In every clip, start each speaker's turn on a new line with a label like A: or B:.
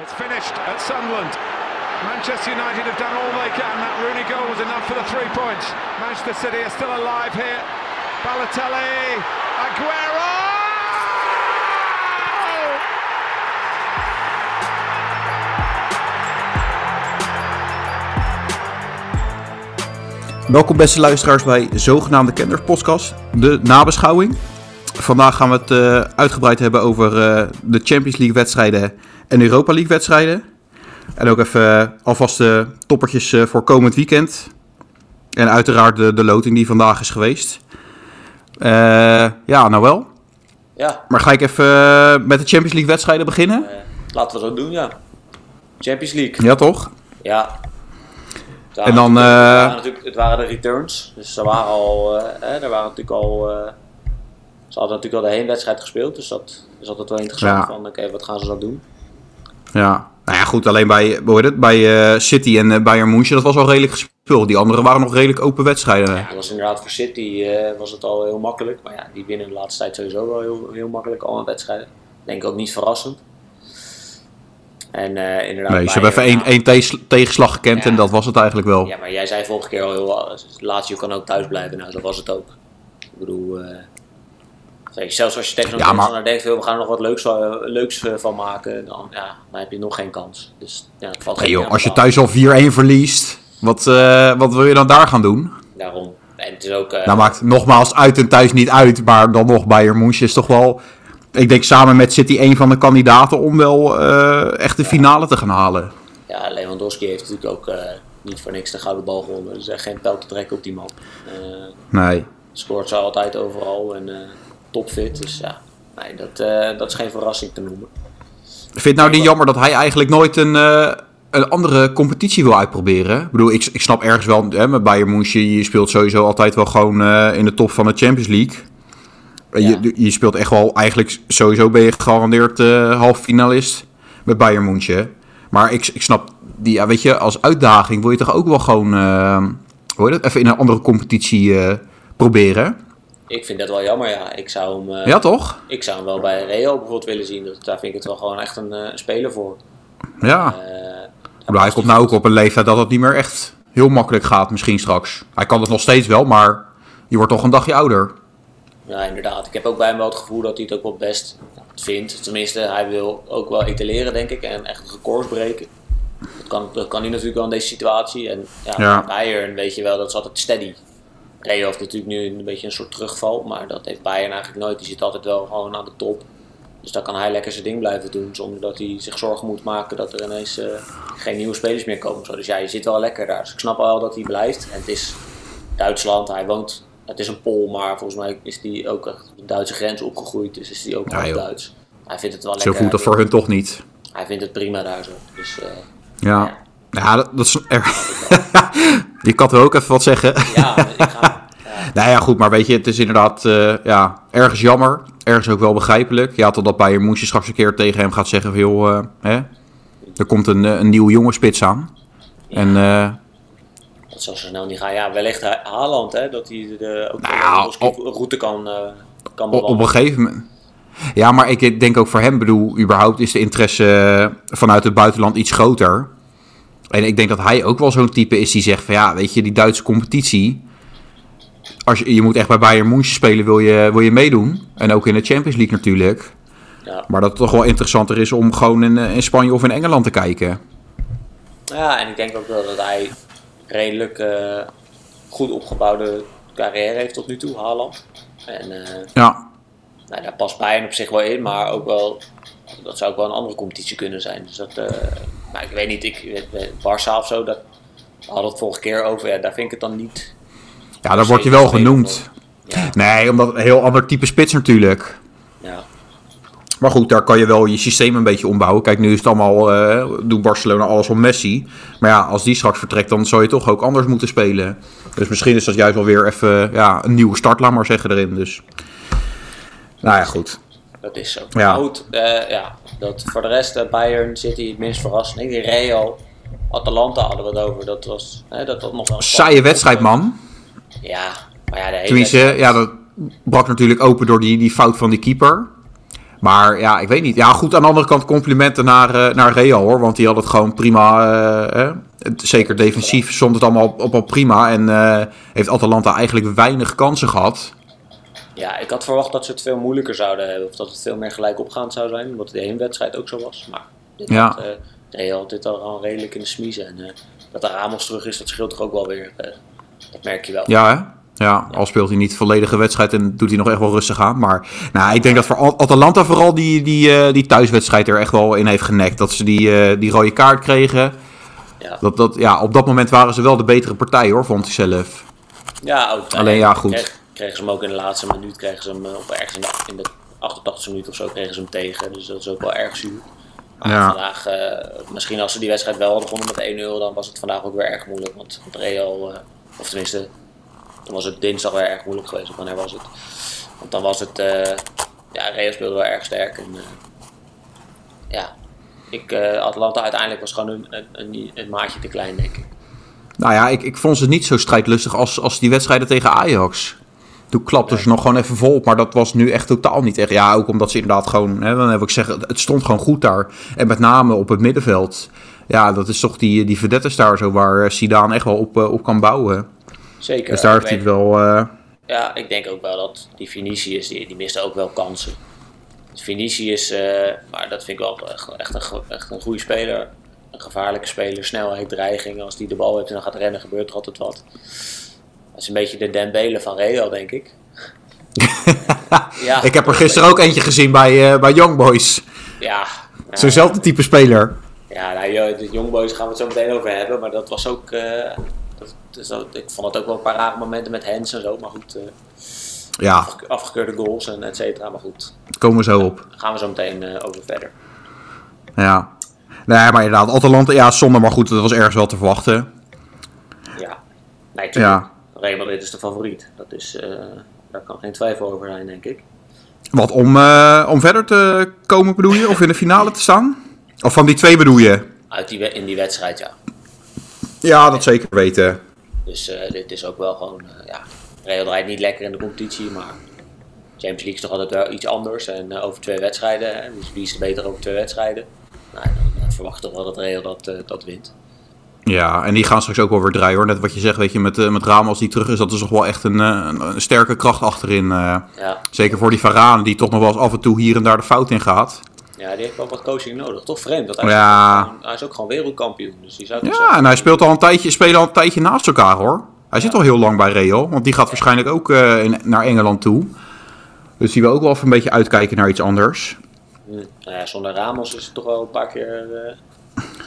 A: It's finished at Sunderland. Manchester United have done all they can. That Rooney goal was enough for the three points. Manchester City are still alive here. Balotelli, Aguero!
B: Welkom beste luisteraars bij zogenaamde Kenders Podcast, de nabeschouwing. Vandaag gaan we het eh, uitgebreid hebben over eh, de Champions League wedstrijden en Europa League wedstrijden. En ook even eh, alvast de toppertjes eh, voor komend weekend. En uiteraard de, de loting die vandaag is geweest. Eh, ja, nou wel.
C: Ja, eh,
B: Maar ga ik even eh, met de Champions League wedstrijden beginnen?
C: laten we dat doen, ja. Champions League.
B: Ja, toch?
C: Ja. Het waren
B: En dan,
C: natuurlijk-
B: eh,
C: het waren natuurlijk, het waren de returns. Dus er waren al, eh, hè, er waren natuurlijk al, eh, ze hadden natuurlijk al de heenwedstrijd gespeeld. Dus dat is altijd wel interessant
B: Ja.
C: van, oké, wat gaan ze dan doen?
B: Ja. Nou ja, goed, alleen bij, hoe heet het, bij eh, City en eh, Bayern München, dat was al redelijk gespeeld. Die anderen waren nog redelijk open wedstrijden.
C: Ja, dat was inderdaad voor City eh, was het al heel makkelijk. Maar ja, die winnen de laatste tijd sowieso wel heel, heel makkelijk al een wedstrijd. Denk ik ook niet verrassend. En eh, inderdaad...
B: Nee, ze
C: Bayern,
B: hebben even één,
C: ja.
B: één tees- tegenslag gekend
C: Ja.
B: en dat was het eigenlijk wel.
C: Ja, maar jij zei vorige keer al heel dus Lazio kan ook thuis blijven. Nou, zo was het ook. Ik bedoel, eh, kijk, zelfs als je tegen een
B: Ja,
C: ja,
B: maar-
C: denkt, we gaan er nog wat leuks, eh, leuks eh, van maken, dan, ja, dan heb je nog geen kans. Dus ja, het valt
B: Hey
C: geen
B: joh,
C: aan
B: als je
C: te
B: thuis al 4-1 verliest, wat, eh, wat wil je dan daar gaan doen?
C: halen. Daarom. En het is ook... eh,
B: Nou maakt nogmaals uit en thuis niet uit, maar dan nog Bayern München is toch wel... Ik denk samen met City één van de kandidaten om wel eh, echt de finale te gaan halen.
C: ja, Lewandowski heeft natuurlijk ook eh, niet voor niks de gouden bal gewonnen. Er is echt geen pijl te trekken op die man. Eh,
B: Nee.
C: scoort ze altijd overal en eh, topfit. Dus ja, nee, dat, eh, dat is geen verrassing te noemen.
B: Vind je het nou niet jammer dat hij eigenlijk nooit een, eh, een andere competitie wil uitproberen? Ik bedoel, ik, ik snap ergens wel, hè, met Bayern München, je speelt sowieso altijd wel gewoon eh, in de top van de Champions League. En
C: Ja.
B: Je, je speelt echt wel, eigenlijk sowieso ben je gegarandeerd eh half finalist met Bayern München. Maar ik, ik snap, die, ja, weet je, als uitdaging wil je toch ook wel gewoon, eh, hoe heet dat, even in een andere competitie eh, proberen?
C: Ik vind dat wel jammer, ja. Ik zou hem... eh,
B: Ja, toch?
C: Ik zou hem wel bij Real bijvoorbeeld willen zien. Dat, daar vind ik het wel gewoon echt een eh, speler voor.
B: Ja.
C: Eh,
B: Ik bedoel, hij komt nou ook op een leeftijd dat het niet meer echt heel makkelijk gaat, misschien straks. Hij kan het nog steeds wel, maar je wordt toch een dagje ouder.
C: ja, inderdaad. Ik heb ook bij hem wel het gevoel dat hij het ook wel best vindt. Tenminste, hij wil ook wel etaleren, denk ik. En echt records breken. Dat kan, dat kan hij natuurlijk wel in deze situatie. En ja,
B: Ja.
C: Bayern weet je wel, dat is altijd steady. Real heeft natuurlijk nu een beetje een soort terugval. Maar dat heeft Bayern eigenlijk nooit. Die zit altijd wel gewoon aan de top. Dus dan kan hij lekker zijn ding blijven doen. Zonder dat hij zich zorgen moet maken dat er ineens eh, geen nieuwe spelers meer komen. Zo. Dus ja, je zit wel lekker daar. Dus ik snap wel dat hij blijft. En het is Duitsland. Hij woont... Het is een Pool, maar volgens mij is hij ook echt de Duitse grens opgegroeid. Dus is hij ook
B: Ja,
C: half
B: joh.
C: Duits. Hij vindt het wel
B: Zo
C: lekker.
B: voelt dat
C: hij,
B: voor hun toch niet.
C: hij vindt het prima daar zo. Dus eh,
B: Ja, ja dat, dat is... je kan er ook even wat zeggen.
C: ja, ik ga...
B: Nou ja, goed, maar weet je, het is inderdaad eh, ja, ergens jammer. Ergens ook wel begrijpelijk. Ja, totdat Bayern Moesje straks een keer tegen hem gaat zeggen van... joh, eh, hè, er komt een, eh, een nieuwe jonge spits aan. En... eh,
C: Dat zal zo snel niet gaan. Ja, wellicht Ha- Haaland, hè, dat hij de, ook
B: Nou,
C: de
B: op-
C: route kan, eh kan
B: op, op
C: bewandelen.
B: een gegeven moment. Ja, maar ik denk ook voor hem, bedoel, überhaupt is de interesse vanuit het buitenland iets groter. En ik denk dat hij ook wel zo'n type is die zegt van ja, weet je, die Duitse competitie. Als je, je moet echt bij Bayern München spelen, wil je, wil je meedoen. En ook in de Champions League natuurlijk.
C: Ja.
B: Maar dat het toch wel interessanter is om gewoon in, eh, in Spanje of in Engeland te kijken.
C: Ja, en ik denk ook wel dat hij redelijk eh, goed opgebouwde carrière heeft tot nu toe, Haaland. En eh,
B: Ja,
C: nou, daar past Bayern op zich wel in, maar ook wel, dat zou ook wel een andere competitie kunnen zijn. Dus dat, eh, maar ik weet niet, ik, eh, Barça of zo, dat, we hadden het vorige keer over, ja, daar vind ik het dan niet.
B: ja daar word je wel genoemd.
C: Ja,
B: Nee, omdat een heel ander type spits natuurlijk.
C: ja.
B: Maar goed, daar kan je wel je systeem een beetje ombouwen. Kijk, nu is het allemaal, eh doet Barcelona alles om Messi. Maar ja, als die straks vertrekt, dan zou je toch ook anders moeten spelen. Dus misschien is dat juist wel weer even ja, een nieuwe start, laat maar zeggen, erin. Dus, nou ja, goed.
C: Dat is zo.
B: Ja.
C: Maar goed, eh, ja, dat voor de rest, eh, Bayern City het minst verrassing. Die Real, Atalanta hadden we het over. Dat was hè, dat, dat nog wel een
B: Saaie wedstrijd, man.
C: Ja, maar ja, de hele
B: Tenminste, ja, dat brak natuurlijk open door die, die fout van die keeper. Maar ja, ik weet niet. Ja, goed, aan de andere kant complimenten naar, eh, naar Real hoor. Want die had het gewoon prima. eh, hè. Het- Zeker defensief stond het allemaal op, op al prima. En eh, heeft Atalanta eigenlijk weinig kansen gehad.
C: Ja, ik had verwacht dat ze het veel moeilijker zouden hebben. Of dat het veel meer gelijk opgaand zou zijn. Omdat de heenwedstrijd ook zo was. Maar dit
B: Ja.
C: had, eh, Real dit al gewoon redelijk in de smiezen. En eh, dat de Ramos terug is, dat scheelt toch ook wel weer. eh, dat merk je wel.
B: Ja, hè? Ja, al speelt hij niet de volledige wedstrijd en doet hij nog echt wel rustig aan. Maar nou, ik denk dat voor Al- Atalanta vooral die, die, eh, die thuiswedstrijd er echt wel in heeft genekt. Dat ze die, eh, die rode kaart kregen.
C: Ja.
B: Dat, dat, ja, op dat moment waren ze wel de betere partij hoor, vond ik zelf.
C: Ja, oh, ook,
B: Alleen ja, goed.
C: Kregen, kregen ze hem ook in de laatste minuut, kregen ze hem eh, op ergens in de, in de 88e minuut of zo, kregen ze hem tegen. Dus dat is ook wel erg zuur. Maar
B: Ja.
C: vandaag, eh, misschien als ze die wedstrijd wel hadden gewonnen met 1-0, dan was het vandaag ook weer erg moeilijk. Want Real, eh, of tenminste, dan was het dinsdag weer erg moeilijk geweest. Of wanneer was het? Want dan was het, eh, ja, Real speelde wel erg sterk. En, eh, ja, ik, eh, Atlanta uiteindelijk was gewoon een, een, een, een maatje te klein, denk ik.
B: Nou ja, ik, ik vond ze niet zo strijdlustig als, als die wedstrijden tegen Ajax. Toen klapten ze nog gewoon even vol, maar dat was nu echt totaal niet echt. Ja, ook omdat ze inderdaad gewoon, hè, dan heb ik zeggen, het stond gewoon goed daar. En met name op het middenveld. Ja, dat is toch die, die verdettes daar zo waar eh, Zidane echt wel op, eh, op kan bouwen.
C: Zeker.
B: Dus daar
C: ik
B: heeft hij
C: weet-
B: het wel... eh,
C: Ja, ik denk ook wel dat die Vinicius, die, die miste ook wel kansen. Dus Vinicius, eh, maar dat vind ik wel eh, echt- echt een, go- echt een goede speler. Een gevaarlijke speler, snelheid, dreiging. Als die de bal heeft en dan gaat rennen, gebeurt er altijd wat. Dat is een beetje de Dembele van Real, denk ik. ja,
B: ik heb er gisteren ook eentje gezien bij, eh, bij Young Boys.
C: Ja, ja.
B: Zo'nzelfde type speler.
C: Ja, nou, joh, de Youngboys gaan we het zo meteen over hebben. Maar dat was ook... eh, dat, dus dat- ik vond het ook wel een paar rare momenten met Hens en zo. Maar goed, eh,
B: Ja,
C: afgekeurde goals en et cetera. Maar goed,
B: komen we zo op.
C: daar gaan we zo meteen eh, over verder.
B: Ja. Nee, maar inderdaad, Atalanta, ja, zonde, maar goed, dat was ergens wel te verwachten.
C: Ja, nee,
B: Ja.
C: ja. Real Madrid is de favoriet. Dat is, eh, daar kan geen twijfel over zijn, denk ik.
B: Wat, om, eh, om verder te komen bedoel je? Of in de finale te staan? Of van die twee bedoel je?
C: Uit die, we- in die wedstrijd, ja.
B: Ja, dat zeker weten.
C: Dus eh, dit is ook wel gewoon, eh, ja, Real draait niet lekker in de competitie, maar Champions League is toch altijd wel iets anders. En eh, over twee wedstrijden, hè, dus wie is er beter over twee wedstrijden? Nou, dan eh, verwacht toch wel dat Real dat, eh, dat wint.
B: Ja, en die gaan straks ook wel weer draaien hoor. Net wat je zegt, weet je, met, eh, met Ramos als die terug is, dat is toch wel echt een, eh, een, een sterke kracht achterin. eh.
C: Ja.
B: Zeker voor die Varane, die toch nog wel eens af en toe hier en daar de fout in gaat.
C: ja, die heeft wel wat coaching nodig. Toch vreemd, want hij,
B: Ja.
C: is, ook gewoon- hij is ook gewoon wereldkampioen. Dus die zou toch
B: Ja,
C: zeggen-
B: en hij speelt al een tijdje, spelen al een tijdje naast elkaar hoor. Hij zit al heel lang bij Real, want die gaat waarschijnlijk ook eh, in- naar Engeland toe. Dus die wil ook wel even een beetje uitkijken naar iets anders.
C: Hm, Nou ja, zonder Ramos is het toch wel een paar keer. eh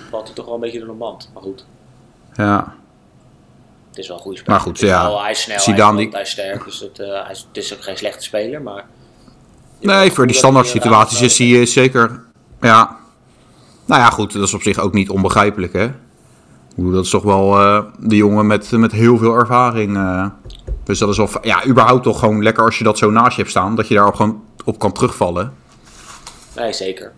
C: valt hij toch wel een beetje door de mand. Maar goed,
B: Ja.
C: het is wel een goede speler.
B: Maar goed,
C: Het is
B: ja,
C: wel- hij is snel,
B: Zidane
C: hij, is,
B: die-
C: hij is sterk. Dus het, eh, hij is, het is ook geen slechte speler. Maar
B: Nee, voor die standaard situaties is hij eh, zeker. Ja. Nou ja, goed, dat is op zich ook niet onbegrijpelijk, hè? Ik bedoel, dat is toch wel eh, de jongen met, met heel veel ervaring. eh. Dus dat is wel. fa- Ja, überhaupt toch gewoon lekker als je dat zo naast je hebt staan. Dat je daar ook gewoon op kan terugvallen.
C: Nee, zeker.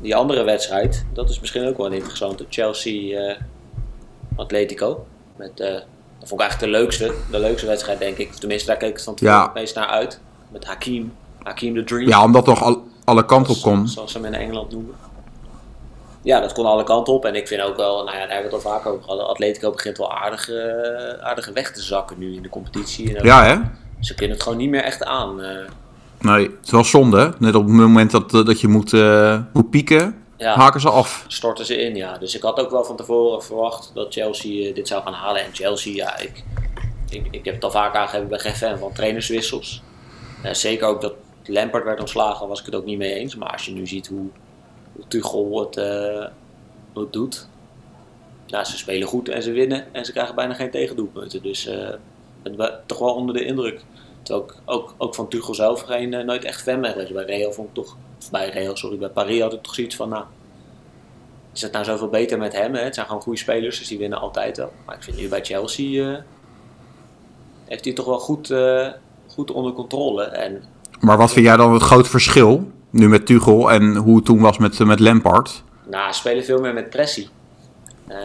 C: Die andere wedstrijd, dat is misschien ook wel een interessante. Chelsea-Atletico. Met, eh, dat vond ik eigenlijk de leukste, de leukste wedstrijd, denk ik. Tenminste, daar keek ik van tevoren
B: Ja.
C: het meest naar uit. Met Hakim. Hakim the Dream.
B: Ja, omdat toch al, alle kanten op
C: Zoals-
B: kon.
C: Zoals ze hem in Engeland noemen. Ja, dat kon alle kanten op. En ik vind ook wel, nou ja, daar hebben we het al vaker over gehad. Atletico begint wel aardig, eh, aardig weg te zakken nu in de competitie. En ook-
B: Ja, hè?
C: Ze kunnen het gewoon niet meer echt aan. eh.
B: Nee, het is wel zonde. hè? Net op het moment dat, eh, dat je moet, eh, moet pieken,
C: Ja.
B: haken ze af.
C: storten ze in, ja. Dus ik had ook wel van tevoren verwacht dat Chelsea eh, dit zou gaan halen. En Chelsea, ja, ik, ik, ik heb het al vaak aangegeven, ik ben geen fan van trainerswissels. Eh, zeker ook dat Lampard werd ontslagen, was ik het ook niet mee eens. Maar als je nu ziet hoe, hoe Tuchel het, eh, hoe het doet. Ja, ze spelen goed en ze winnen en ze krijgen bijna geen tegendoelpunten. Dus eh ik ben toch wel onder de indruk. Terwijl ik ook, ook van Tuchel zelf geen, eh, nooit echt fan ben geweest. Bij Real vond ik toch, of bij Real, sorry, bij Paris had ik toch zoiets van, nou, is het nou zoveel beter met hem? Hè? Het zijn gewoon goede spelers, dus die winnen altijd wel. Maar ik vind nu bij Chelsea eh, heeft hij het toch wel goed, eh, goed onder controle. En
B: Maar wat vind jij dan het grote verschil? Nu met Tuchel en hoe het toen was met, eh, met Lampard.
C: nou, ze spelen veel meer met pressie. Eh,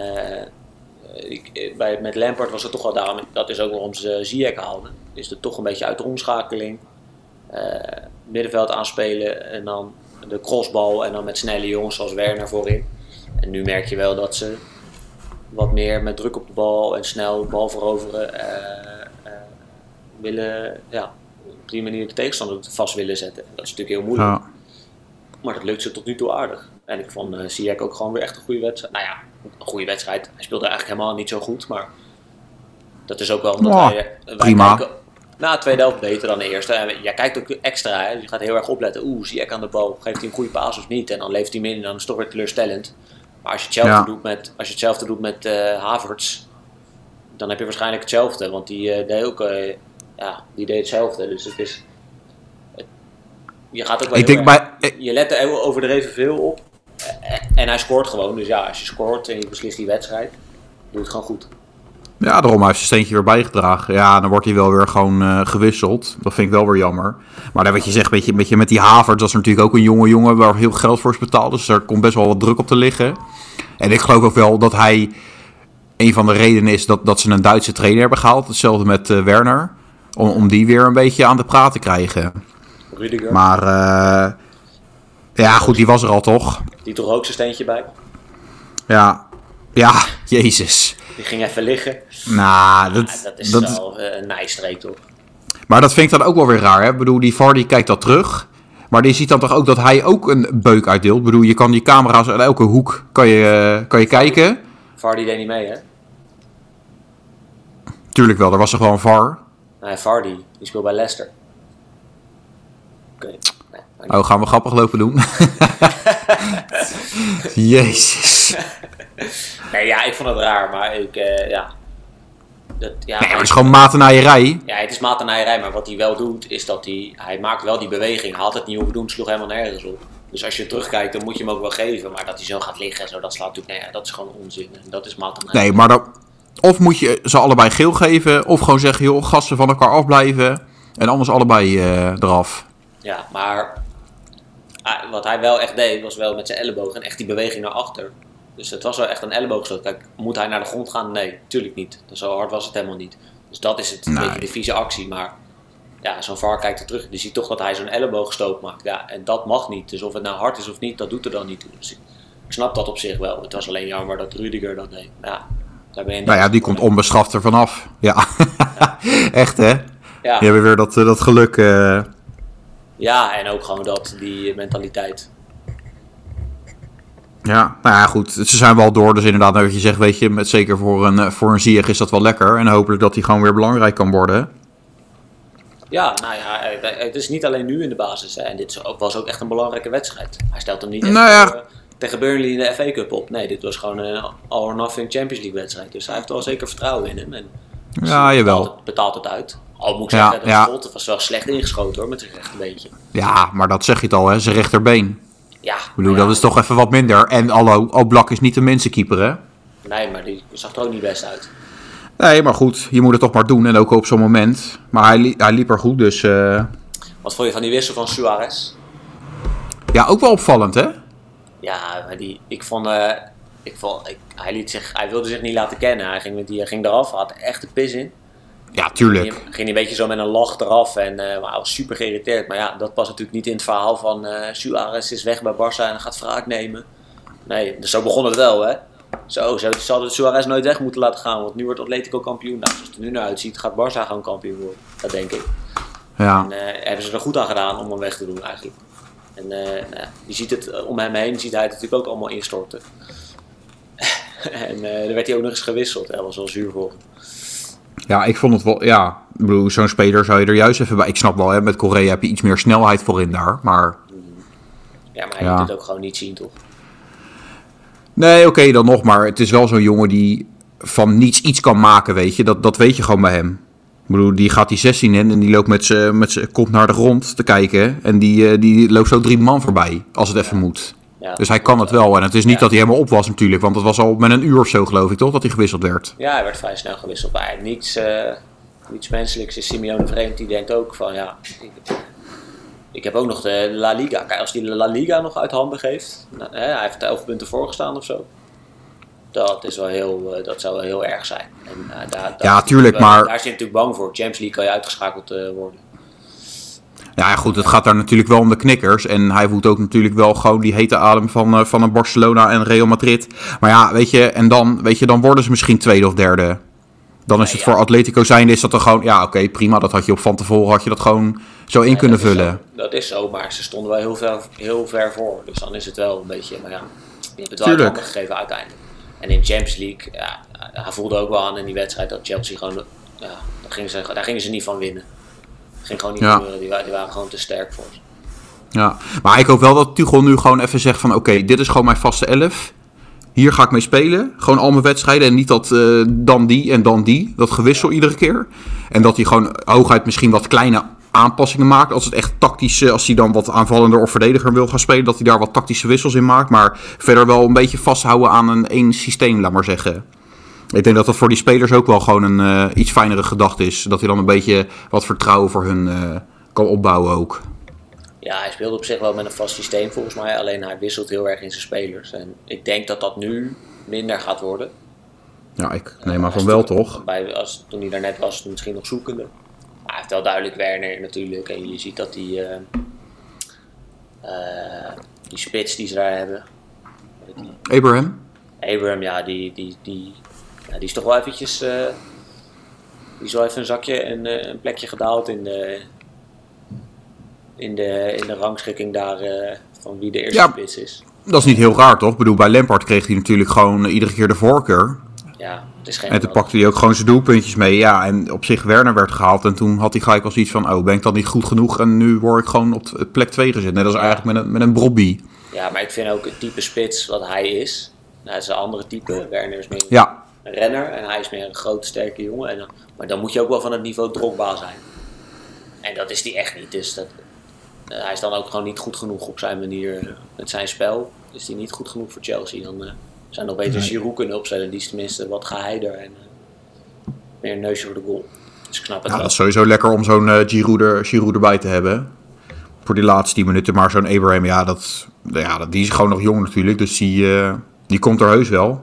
C: ik, eh, bij, met Lampard was het toch wel daarom, dat is ook waarom ze Ziyech haalden. Is het toch een beetje uit de omschakeling. Eh, eh, middenveld aanspelen en dan de crossbal en dan met snelle jongens zoals Werner voorin. En nu merk je wel dat ze wat meer met druk op de bal en snel de bal veroveren eh, eh, willen, ja, op die manier de tegenstander vast willen zetten. Dat is natuurlijk heel moeilijk.
B: Ja.
C: Maar dat lukt ze tot nu toe aardig. En ik vond eh Ziyech ook gewoon weer echt een goede wedstrijd. Nou ja, een goede wedstrijd. Hij speelde eigenlijk helemaal niet zo goed, maar dat is ook wel omdat
B: Nou,
C: hij... eh, wij
B: prima.
C: kijken na de tweede helft beter dan de eerste. En jij kijkt ook extra, hè? Dus je gaat heel erg opletten. Oeh, Ziyech aan de bal. Geeft hij een goede paas of niet? En dan leeft hij minder, dan is het toch weer teleurstellend. Maar als je hetzelfde
B: Ja.
C: doet met, als je hetzelfde doet met eh, Havertz, dan heb je waarschijnlijk hetzelfde. Want die, eh, deed, ook, eh, ja, die deed hetzelfde. Dus het is... het- je gaat ook wel
B: Ik
C: heel
B: denk
C: erg-
B: bij, ik-
C: je let er heel overdreven veel op. Eh, En hij scoort gewoon. Dus ja, als je scoort en je beslist die wedstrijd, doe het gewoon goed.
B: Ja, daarom hij heeft zijn steentje weer bijgedragen. Ja, dan wordt hij wel weer gewoon eh, gewisseld. Dat vind ik wel weer jammer. Maar dan wat je zegt, beetje, beetje met die Havertz, dat is natuurlijk ook een jonge jongen waar heel veel geld voor is betaald. Dus er komt best wel wat druk op te liggen. En ik geloof ook wel dat hij een van de redenen is dat, dat ze een Duitse trainer hebben gehaald. Hetzelfde met eh, Werner. Om, om die weer een beetje aan de praat te krijgen.
C: Rudiger,
B: Maar eh, ja, goed, die was er al toch?
C: die toch ook zijn steentje bij.
B: Ja, ja, jezus.
C: Die ging even liggen.
B: Nou,
C: Ja,
B: dat,
C: dat is
B: dat,
C: wel eh, een nijstreek toch?
B: Maar dat vind ik dan ook wel weer raar. Hè? Ik bedoel, die VAR die kijkt dat terug. Maar die ziet dan toch ook dat hij ook een beuk uitdeelt. Ik bedoel, je kan die camera's uit elke hoek kan je, eh, kan je kijken.
C: Vardy deed niet mee, hè?
B: Tuurlijk wel, er was er gewoon een VAR.
C: Nee, Vardy, die speelt bij Leicester. Oké. Nee, maar niet.
B: Oh, gaan we grappig lopen doen? Jezus.
C: Nee, ja, ik vond het raar, maar ik, eh, ja. Dat, ja,
B: Nee, maar het is gewoon matenaaierij.
C: Ja, het is matenaaierij, maar wat hij wel doet, is dat hij... Hij maakt wel die beweging, haalt het niet hoeven doen, sloeg helemaal nergens op. Dus als je terugkijkt, dan moet je hem ook wel geven. Maar dat hij zo gaat liggen en zo, dat slaat natuurlijk... Nee, ja, dat is gewoon onzin. En dat is matenaaierij.
B: Nee, maar dan... Of moet je ze allebei geel geven, of gewoon zeggen, joh, gasten van elkaar afblijven. En anders allebei eh, eraf.
C: Ja, maar... ah, wat hij wel echt deed, was wel met zijn elleboog en echt die beweging naar achter. Dus het was wel echt een elleboogstoot. Kijk, moet hij naar de grond gaan? Nee, tuurlijk niet. Zo hard was het helemaal niet. Dus dat is het, een
B: Nee.
C: beetje de vieze actie. Maar ja, zo'n VAR kijkt er terug. Die ziet toch dat hij zo'n elleboogstoot maakt. Ja, en dat mag niet. Dus of het nou hard is of niet, dat doet er dan niet toe. Dus ik ik snap dat op zich wel. Het was alleen jammer dat Rudiger dat deed. Maar Ja, daar ben je
B: Nou ja, die komt onbeschaft er vanaf. Ja, echt hè?
C: Ja.
B: Die hebben weer dat, eh, dat geluk. eh,
C: ja, en ook gewoon dat, die mentaliteit.
B: Ja, nou ja, goed. Ze zijn wel door. Dus inderdaad, nou, wat je zegt, weet je, met, zeker voor een, eh, voor een Ziyech is dat wel lekker. En hopelijk dat hij gewoon weer belangrijk kan worden.
C: Ja, nou ja, eh, het is niet alleen nu in de basis. Hè. En dit is ook- was ook echt een belangrijke wedstrijd. Hij stelt hem niet echt
B: Nou ja.
C: eh, tegen Burnley in de FA Cup op. Nee, dit was gewoon een all or nothing Champions League wedstrijd. Dus hij heeft wel zeker vertrouwen in hem. En
B: Ja, jawel.
C: betaalt het, betaalt het uit. Al moet ik
B: Ja,
C: zeggen, dat
B: ja.
C: schot was wel slecht ingeschoten hoor, met zijn rechterbeentje.
B: Ja, maar dat zeg je het al, hè. Zijn rechterbeen. Ik
C: Ja,
B: bedoel,
C: maar ja,
B: dat is toch even wat minder. En allo, Oblak is niet de minste keeper, hè.
C: Nee, maar die zag er ook niet best uit.
B: Nee, maar goed. Je moet het toch maar doen. En ook op zo'n moment. Maar hij, li- hij liep er goed, dus... eh,
C: Wat vond je van die wissel van Suarez?
B: ja, ook wel opvallend, hè.
C: Ja, maar die, ik vond, eh, ik vond ik, hij, liet zich, hij wilde zich niet laten kennen. Hij ging, met die, hij ging eraf, had echt de pis in.
B: Ja,
C: Ging,
B: tuurlijk.
C: ging een beetje zo met een lach eraf en eh, maar hij was super geïrriteerd. Maar ja, dat past natuurlijk niet in het verhaal van eh Suarez is weg bij Barça en gaat wraak nemen. Nee, dus zo begon het wel, hè. Zo, ze ze hadden Suarez nooit weg moeten laten gaan, want nu wordt Atletico kampioen. Nou, zoals het er nu naar uitziet, gaat Barça gewoon kampioen worden. Dat denk ik.
B: Ja.
C: En eh, hebben ze er goed aan gedaan om hem weg te doen eigenlijk. En eh, nou ja, je ziet het eh, om hem heen, ziet hij het natuurlijk ook allemaal instorten. en eh er werd hij ook nog eens gewisseld. Hij was wel zuur voor hem.
B: Ja, ik vond het wel. Ja, ik bedoel, zo'n speler zou je er juist even bij. Ik snap wel, hè, met Korea heb je iets meer snelheid voor in daar. Maar.
C: Ja, maar hij
B: Ja.
C: liet het ook gewoon niet zien, toch?
B: Nee, oké, dan nog. Maar het is wel zo'n jongen die van niets iets kan maken, weet je. Dat, dat weet je gewoon bij hem. Ik bedoel, die gaat die 16 in en die loopt met zijn met z'n kop naar de grond te kijken. En die, eh, die loopt zo drie man voorbij, als het even moet.
C: Ja.
B: Dus hij kan het wel. En het is niet
C: Ja.
B: dat hij helemaal op was natuurlijk. Want het was al met een uur of zo, geloof ik, toch? Dat hij gewisseld werd.
C: Ja, hij werd vrij snel gewisseld. Maar hij- niets, eh, niets menselijks is Simeone vreemd. Die denkt ook van ja. Ik, ik heb ook nog de La Liga. Kijk, als die de La Liga nog uit handen geeft. nou, hè, hij heeft 11 punten voorgestaan of zo. Dat, is wel heel, eh, dat zou wel heel erg zijn. En, eh, daar, daar is hij
B: tuurlijk,
C: wel-
B: maar-
C: Daar is hij natuurlijk bang voor. Champions League kan je uitgeschakeld eh, worden.
B: Nou ja, goed, het gaat daar natuurlijk wel om de knikkers. En hij voelt ook natuurlijk wel gewoon die hete adem van, eh, van een Barcelona en Real Madrid. Maar ja, weet je, en dan, weet je, dan worden ze misschien tweede of derde. Dan is het
C: ja.
B: voor Atletico zijn, is dat dan gewoon... Ja, oké, prima, dat had je op van tevoren, had je dat gewoon zo in kunnen
C: dat is
B: vullen.
C: zo. dat is zo, maar ze stonden wel heel ver, heel ver voor. Dus dan is het wel een beetje, maar ja, je hebt het wel uit
B: Tuurlijk.
C: handen gegeven uiteindelijk. En in Champions League, ja, hij voelde ook wel aan in die wedstrijd dat Chelsea gewoon, ja, daar gingen ze, daar gingen ze niet van winnen. Ging gewoon niet
B: Ja.
C: gebeuren, die, wa- die waren gewoon te sterk voor ze.
B: Ja, maar ik hoop wel dat Tuchel nu gewoon even zegt van... Oké, dit is gewoon mijn vaste elf. Hier ga ik mee spelen. Gewoon al mijn wedstrijden en niet dat eh, dan die en dan die. Dat gewissel iedere keer. En dat hij gewoon hooguit misschien wat kleine aanpassingen maakt. Als het echt tactisch, eh, als hij dan wat aanvallender of verdediger wil gaan spelen... dat hij daar wat tactische wissels in maakt. Maar verder wel een beetje vasthouden aan een één systeem, laat maar zeggen. Ik denk dat dat voor die spelers ook wel gewoon een eh, iets fijnere gedachte is. Dat hij dan een beetje wat vertrouwen voor hun eh, kan opbouwen ook.
C: Ja, hij speelde op zich wel met een vast systeem volgens mij. Alleen hij wisselt heel erg in zijn spelers. En ik denk dat dat nu minder gaat worden.
B: Ja, ik neem maar
C: Hij
B: van
C: is
B: wel
C: toen-
B: toch?
C: Bij, als, toen hij daar net was, misschien nog zoekende. Maar hij heeft wel duidelijk Werner natuurlijk. En je ziet dat die, eh, eh, die spits die ze daar hebben.
B: Abraham?
C: Abraham, ja, die, die, die, ja, die is toch wel eventjes... eh, die is wel even een zakje en eh, een plekje gedaald in de, in de, in de rangschikking daar eh, van wie de eerste
B: Ja.
C: spits is.
B: Dat is niet heel raar toch? Ik bedoel, bij Lampard kreeg hij natuurlijk gewoon eh, iedere keer de voorkeur.
C: Ja, het is geen
B: En toen
C: verandering.
B: pakte hij ook gewoon zijn doelpuntjes mee. Ja, en op zich Werner werd gehaald. En toen had hij gelijk als iets van, oh, ben ik dan niet goed genoeg? En nu word ik gewoon op t- eh, plek 2 gezet. Net als eigenlijk met een, met een Brobby.
C: Ja, maar ik vind ook het type spits wat hij is. Nou, hij is een andere type. Werner is meer
B: Ja,
C: een renner en hij is meer een groot, sterke jongen. En dan, maar dan moet je ook wel van het niveau Drogba zijn. En dat is die echt niet. Dus dat, eh, hij is dan ook gewoon niet goed genoeg op zijn manier. eh, Met zijn spel is hij niet goed genoeg voor Chelsea. Dan eh, zijn nog beter Giroud kunnen opstellen. Die is tenminste wat geheider en eh, meer een neusje voor de goal. Dus ik snap het
B: ja
C: wel.
B: dat is sowieso lekker om zo'n eh Giroud, er, Giroud erbij te hebben. Voor die laatste 10 minuten. Maar zo'n Abraham, ja, dat, ja dat, die is gewoon nog jong natuurlijk. Dus die, eh, die komt er heus wel.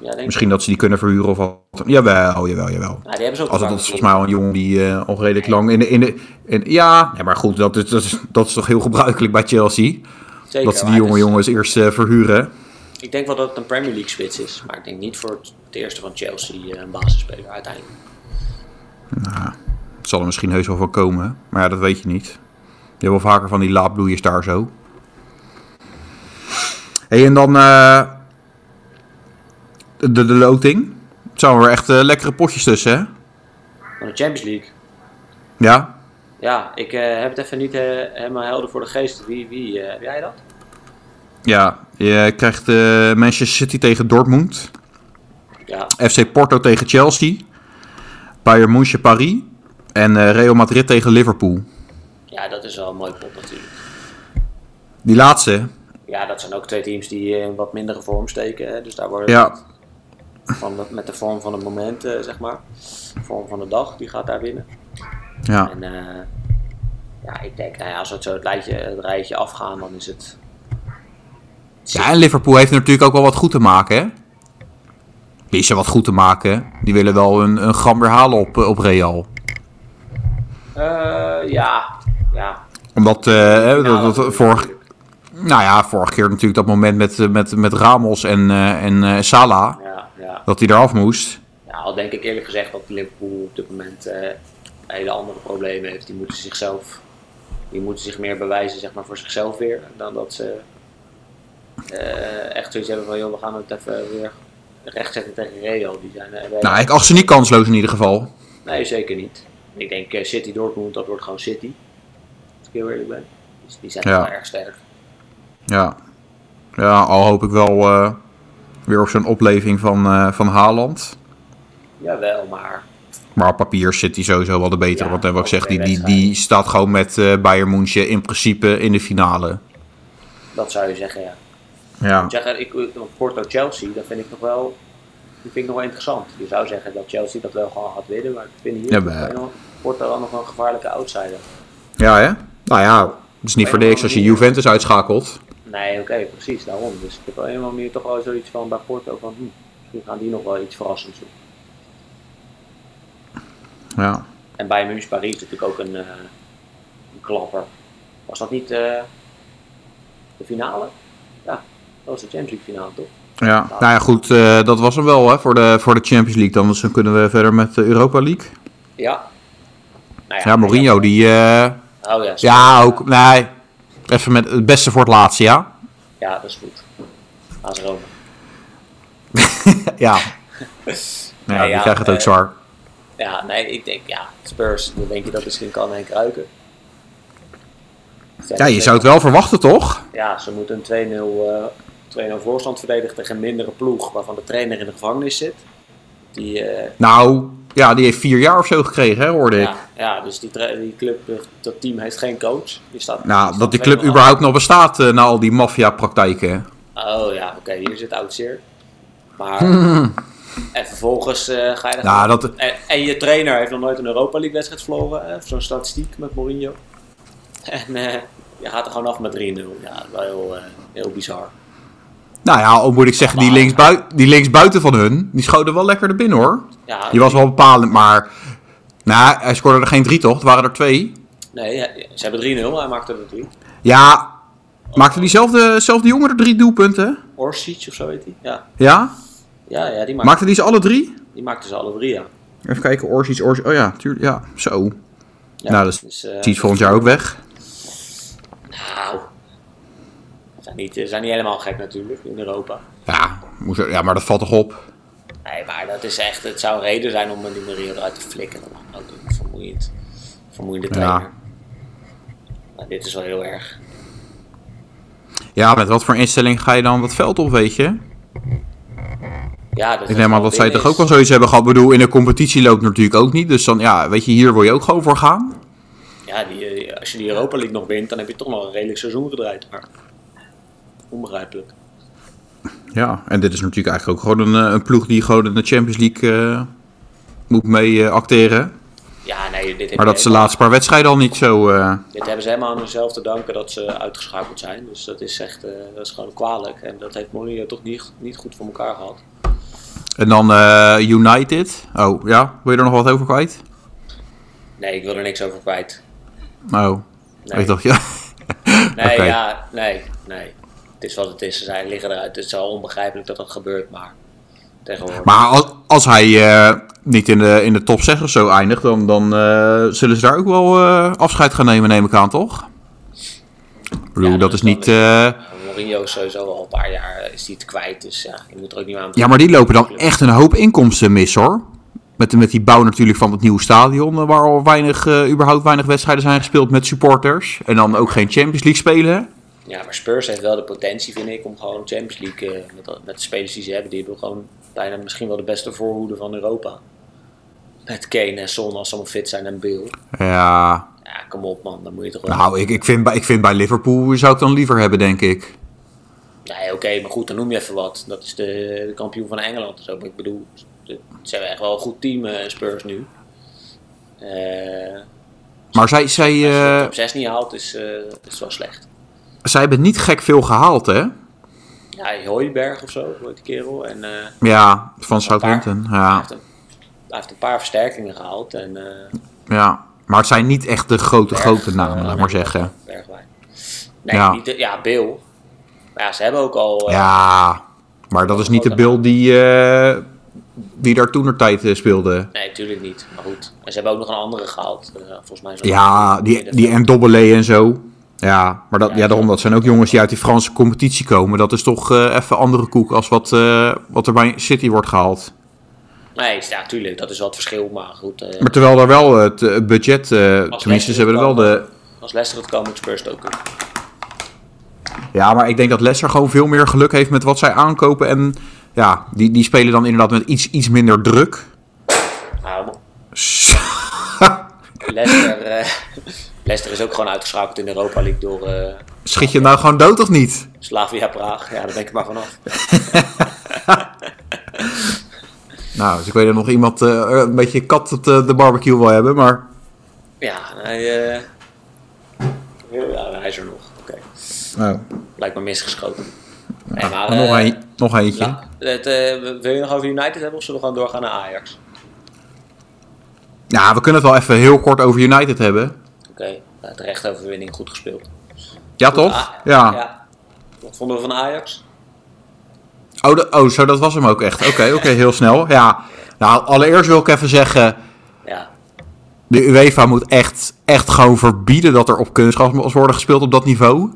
C: Ja, denk ik.
B: Misschien dat ze die kunnen verhuren of wat. Jawel, jawel, jawel.
C: Nou, die hebben ze ook
B: Als het dat
C: een paar
B: is volgens mij al een jongen die eh, al redelijk lang in de. In de in, ja, nee, maar goed, dat is, dat, is, dat is toch heel gebruikelijk bij Chelsea.
C: Zeker, dus-
B: dat ze die
C: maar
B: jonge
C: het is-
B: jongens eerst eh, verhuren.
C: Ik denk wel dat het een Premier League spits is, maar ik denk niet voor het, het eerste van Chelsea eh, een basisspeler uiteindelijk.
B: Het zal er misschien heus wel van komen, maar ja, dat weet je niet. Je hebt wel vaker van die laadbloeiers daar zo. hey, en dan eh, de, de loting. Het zijn er echt eh, lekkere potjes tussen, hè?
C: Van de Champions League.
B: Ja,
C: Ja, ik eh, heb het even niet eh, helemaal helder voor de geest. Wie, wie eh, heb jij dat?
B: ja. Je krijgt eh, Manchester City tegen Dortmund.
C: Ja,
B: FC Porto tegen Chelsea. Bayern München Paris. En eh, Real Madrid tegen Liverpool.
C: ja, dat is wel een mooi pot natuurlijk.
B: Die laatste.
C: Ja, dat zijn ook twee teams die eh, in wat mindere vorm steken. hè, Dus daar worden
B: Ja,
C: van, de- met de vorm van het moment, eh, zeg maar. De vorm van de dag, die gaat daar winnen.
B: ja.
C: En eh, ja, ik denk, nou ja, als we het zo het, lijntje, het rijtje afgaan, dan is het
B: ja, en Liverpool heeft natuurlijk ook wel wat goed te maken, hè? Die is er wat goed te maken. Die willen wel een, een gram weer halen op, eh, op Real.
C: Eh, ja, ja.
B: Omdat, eh, hè,
C: Ja,
B: dat, dat,
C: natuurlijk.
B: vorig, nou ja, vorige keer natuurlijk dat moment met, eh, met, met Ramos en, eh, en eh, Salah.
C: Ja, ja.
B: Dat hij eraf moest.
C: ja, al Nou, denk ik eerlijk gezegd dat Liverpool op dit moment eh, hele andere problemen heeft. Die moeten zichzelf, die moeten zich meer bewijzen zeg maar, voor zichzelf weer. Dan dat ze eh, echt zoiets hebben van, joh, we gaan het even weer rechtzetten tegen Real. Die zijn, eh,
B: Nou, ik acht ze niet kansloos in ieder geval.
C: Nee, zeker niet. Ik denk eh, City Dortmund, dat wordt gewoon City. Als ik heel eerlijk ben. Dus die zijn
B: Ja.
C: wel erg sterk.
B: Ja. Ja, al hoop ik wel eh, weer op zo'n opleving van, eh, van Haaland.
C: Jawel, maar
B: Maar op papier zit hij sowieso wel de betere.
C: Ja,
B: want eh, wat ik
C: ook
B: zeg,
C: twee
B: die, die, die
C: wedstrijden.
B: staat gewoon met eh Bayern München in principe in de finale.
C: dat zou je zeggen, ja.
B: Ja.
C: Ik moet zeggen, ik, ik- Porto-Chelsea, dat vind ik nog wel, die vind ik nog wel interessant. Je zou zeggen dat Chelsea dat wel gewoon gaat winnen, maar ik vind hier
B: Ja, maar-
C: nog- Porto wel nog een gevaarlijke outsider.
B: Ja, hè? Nou ja, het is niet voor niks als je Juventus uitschakelt.
C: Nee, oké, precies, daarom. Dus ik heb wel helemaal meer toch wel zoiets van bij Porto van, hm, misschien gaan die nog wel iets verrassends doen.
B: Ja.
C: En bij München Paris natuurlijk ook een, eh, een klapper. Was dat niet eh, de finale? Ja, dat was de Champions League finale toch?
B: Ja, nou ja, goed, eh, dat was hem wel hè, voor, de, voor de Champions League. Dan, dus dan kunnen we verder met de Europa League.
C: Ja. Nou
B: Ja, Mourinho, die... eh,
C: Oh ja, sorry.
B: ja, ook... Nee, even met het beste voor het laatste, ja?
C: Ja, dat is goed. AS Roma.
B: ja. Nou ja,
C: Nou
B: die
C: ja,
B: krijgt het ook
C: eh,
B: zwaar.
C: Ja, nee, ik denk, ja, Spurs, dan denk je dat misschien kan Henk Ruiken.
B: Ja, je zou het wel verwachten, toch?
C: Ja, ze moeten een 2-0, eh, 2-0 voorstand verdedigen tegen een mindere ploeg, waarvan de trainer in de gevangenis zit. Die, eh,
B: Nou, ja, die heeft vier jaar of zo gekregen, hè, hoorde ik.
C: ja, ja, dus die, tra- die club, eh, dat team heeft geen coach. Die staat, die
B: Nou,
C: staat
B: dat die club
C: 2-0 achter.
B: überhaupt nog bestaat eh, na al die maffia-praktijken.
C: Oh ja, oké, hier zit oud zeer. Maar. En vervolgens eh, ga je. dan-
B: Nou, dat-
C: en, en je trainer heeft nog nooit een Europa League wedstrijd verloren. hè, Zo'n statistiek met Mourinho. En eh, je gaat er gewoon af met 3-0. Ja, dat is wel heel, eh, heel bizar.
B: Nou ja, al moet ik zeggen, die, linksbui die linksbuiten van hun, die schoten wel lekker er binnen, hoor.
C: Ja,
B: Die was wel bepalend, maar... Nou, hij scoorde er geen drie, toch? Het waren er twee.
C: Nee, ja, ze hebben 3-0, hij maakte er 3.
B: Ja, maakte diezelfde zelfde jongen er drie doelpunten?
C: Orsic of zo heet hij. Ja,
B: Ja?
C: ja, ja die, maakte,
B: Maakte die ze alle drie?
C: die maakte ze alle drie. Ja.
B: Even kijken, Orsic, Orsic. Oh ja, tuurlijk, ja, zo.
C: Ja,
B: nou, dat is
C: dus, eh,
B: die is volgend jaar ook weg.
C: Nou, ze zijn niet, ze zijn niet helemaal gek natuurlijk in Europa.
B: Ja, moest, ja, maar dat valt toch op?
C: Nee, maar dat is echt, het zou een reden zijn om een nummer eruit te flikkeren. man. Ook een vermoeiend. Vermoeiende trainer.
B: Ja.
C: Nou, dit is wel heel erg.
B: Ja, met wat voor instelling ga je dan dat veld op, weet je?
C: Ja, dat
B: Ik neem aan dat zij toch ook wel
C: was.
B: zoiets hebben gehad. Ik bedoel, in de competitie loopt het natuurlijk ook niet. Dus dan, ja, weet je, hier wil je ook gewoon voor gaan.
C: Ja, die, eh, als je die Europa League nog wint, dan heb je toch nog een redelijk seizoen gedraaid. Maar onbegrijpelijk.
B: Ja, en dit is natuurlijk eigenlijk ook gewoon een, eh, een ploeg die gewoon in de Champions League eh, moet mee eh, acteren.
C: Ja, nee, dit,
B: Maar
C: heb je
B: dat is de
C: helemaal-
B: laatste paar wedstrijden al niet zo... eh,
C: dit hebben ze helemaal aan hunzelf te danken dat ze uitgeschakeld zijn. Dus dat is echt, eh, dat is gewoon kwalijk. En dat heeft Mourinho toch niet, niet goed voor elkaar gehad.
B: En dan eh, United. Oh, ja? Wil je er nog wat over kwijt?
C: Nee, ik wil er niks over kwijt.
B: Oh.
C: Nee.
B: Ik dacht, ja.
C: Nee,
B: Oké.
C: ja, nee, nee. Het is wat het is. Ze zijn, liggen eruit. Het is wel onbegrijpelijk dat dat gebeurt, maar tegenwoordig.
B: Maar als, als hij eh, niet in de, in de top 6 of zo eindigt, dan, dan eh, zullen ze daar ook wel eh, afscheid gaan nemen, neem ik aan, toch? Ik bedoel,
C: Ja,
B: dat
C: dat
B: is
C: is wel
B: niet... eh,
C: Eh, Mourinho is sowieso al een paar jaar eh, is die het kwijt, dus ja, je moet er ook niet meer aan.
B: ja, maar die lopen dan echt een hoop inkomsten mis, hoor. Met, met die bouw natuurlijk van het nieuwe stadion, eh, waar al weinig, eh, überhaupt weinig wedstrijden zijn gespeeld met supporters. En dan ook geen Champions League spelen.
C: Ja, maar Spurs heeft wel de potentie, vind ik, om gewoon Champions League eh, met, met de spelers die ze hebben. Die hebben gewoon bijna misschien wel de beste voorhoede van Europa. Met Kane en Son als ze allemaal fit zijn en Bill.
B: Ja,
C: Ja, kom op man, dan moet je toch wel.
B: nou, ik, ik, vind, bij- ik vind bij Liverpool zou ik dan liever hebben, denk ik.
C: Nee, oké, maar goed, dan noem je even wat. Dat is de, de kampioen van Engeland. en zo. Maar ik bedoel, ze ze hebben echt wel een goed team, eh, Spurs nu. Eh
B: Maar zij, zij,
C: als je de
B: eh,
C: top 6 niet haalt, is, eh, is het wel slecht.
B: zij hebben niet gek veel gehaald, hè?
C: Ja, Hooiberg of zo, wordt die kerel. En, eh,
B: Ah.
C: hij,
B: Ja, van Southampton. Ja,
C: heeft een, hij heeft een paar versterkingen gehaald. En, eh
B: ja. Maar het zijn niet echt de grote,
C: Berg,
B: grote
C: eh,
B: namen, laat maar zeggen.
C: Bergwijn. Nee,
B: Ja.
C: ja. Niet, de- ja, Bill. Maar ja, ze hebben ook al... eh,
B: Ja, maar dat is niet de Bill die, eh, die daar toenertijd eh, speelde.
C: Nee, natuurlijk niet. Maar goed. En ze hebben ook nog een andere gehaald. eh, volgens mij zo'n-
B: Ja, die, die Ndombele en zo. Ja, maar dat, ja, daarom, dat zijn ook jongens die uit die Franse competitie komen. Dat is toch eh, even andere koek als wat, eh, wat er bij City wordt gehaald.
C: Nee, ja, tuurlijk. Dat is wel het verschil. Maar goed, eh,
B: Maar terwijl daar wel het eh, budget, eh, tenminste, ze hebben er wel de,
C: Als Leicester het kan, moet Spurs het ook kunnen.
B: Ja, maar ik denk dat Leicester gewoon veel meer geluk heeft met wat zij aankopen. En ja, die, die spelen dan inderdaad met iets, iets minder druk.
C: Nou, Leicester, eh, Leicester is ook gewoon uitgeschakeld in de Europa League door eh,
B: Schiet je hem nou gewoon dood of niet?
C: Slavia Praag. Ja, daar denk ik maar vanaf.
B: Nou, dus ik weet dat nog iemand eh, een beetje kat op de, de barbecue wil hebben. Maar
C: Ja, hij, eh, ja, hij is er nog. Oké.
B: nou,
C: Lijkt me misgeschoten. Nee, maar,
B: Ah, nog,
C: eh,
B: een, nog eentje.
C: la- het, eh, wil je nog over United hebben of zullen we gewoon doorgaan naar Ajax?
B: Ja, we kunnen het wel even heel kort over United hebben.
C: Oké. eh, terechte overwinning goed gespeeld.
B: Ja, toch?
C: Ah,
B: Ja.
C: Wat vonden we van Ajax?
B: Oh, de- oh, zo, dat was hem ook echt. Oké, oké, heel snel. Ja. Nou, allereerst wil ik even zeggen,
C: Ja,
B: de UEFA moet echt, echt gewoon verbieden dat er op kunstgras worden gespeeld op dat niveau.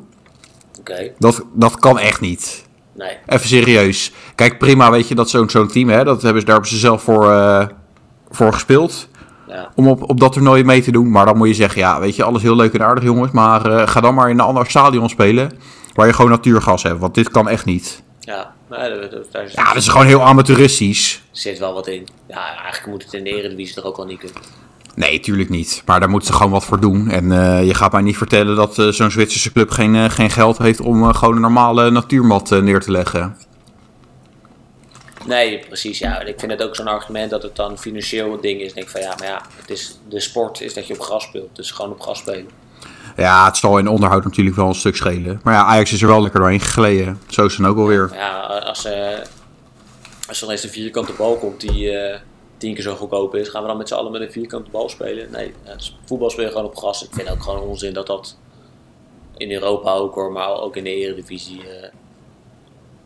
C: oké.
B: Dat, dat kan echt niet.
C: Nee,
B: Even serieus. Kijk, prima weet je dat zo'n zo'n team, hè, dat hebben ze, daar hebben ze zelf voor, eh, voor gespeeld.
C: ja.
B: Om op, op dat toernooi mee te doen. Maar dan moet je zeggen, ja, weet je, alles heel leuk en aardig jongens. Maar eh, ga dan maar in een ander stadion spelen. Waar je gewoon natuurgas hebt. Want dit kan echt niet.
C: ja. Nee, daar, daar-
B: Ja,
C: daar
B: dus- dat is gewoon heel amateuristisch.
C: zit wel wat in. Ja, eigenlijk moet het in de Eredivisie er ook al niet kunnen.
B: Nee, tuurlijk niet. Maar daar moeten ze gewoon wat voor doen. En eh, je gaat mij niet vertellen dat eh, zo'n Zwitserse club geen, eh, geen geld heeft om eh, gewoon een normale natuurmat eh, neer te leggen.
C: Nee, precies. Ja, ik vind het ook zo'n argument dat het dan financieel een ding is. Ik denk van ja, maar ja, het is, de sport is dat je op gras speelt. Dus gewoon op gras spelen.
B: Ja, het zal in onderhoud natuurlijk wel een stuk schelen. Maar ja, Ajax is er wel lekker doorheen gegleden. Zo is het dan ook alweer.
C: Maar ja, als, eh als er ineens een vierkante bal komt die eh, tien keer zo goedkoop is, gaan we dan met z'n allen met een vierkante bal spelen? Nee, eh, voetbal speel je gewoon op gras. Ik vind ook gewoon onzin dat dat in Europa ook hoor, maar ook in de Eredivisie. eh,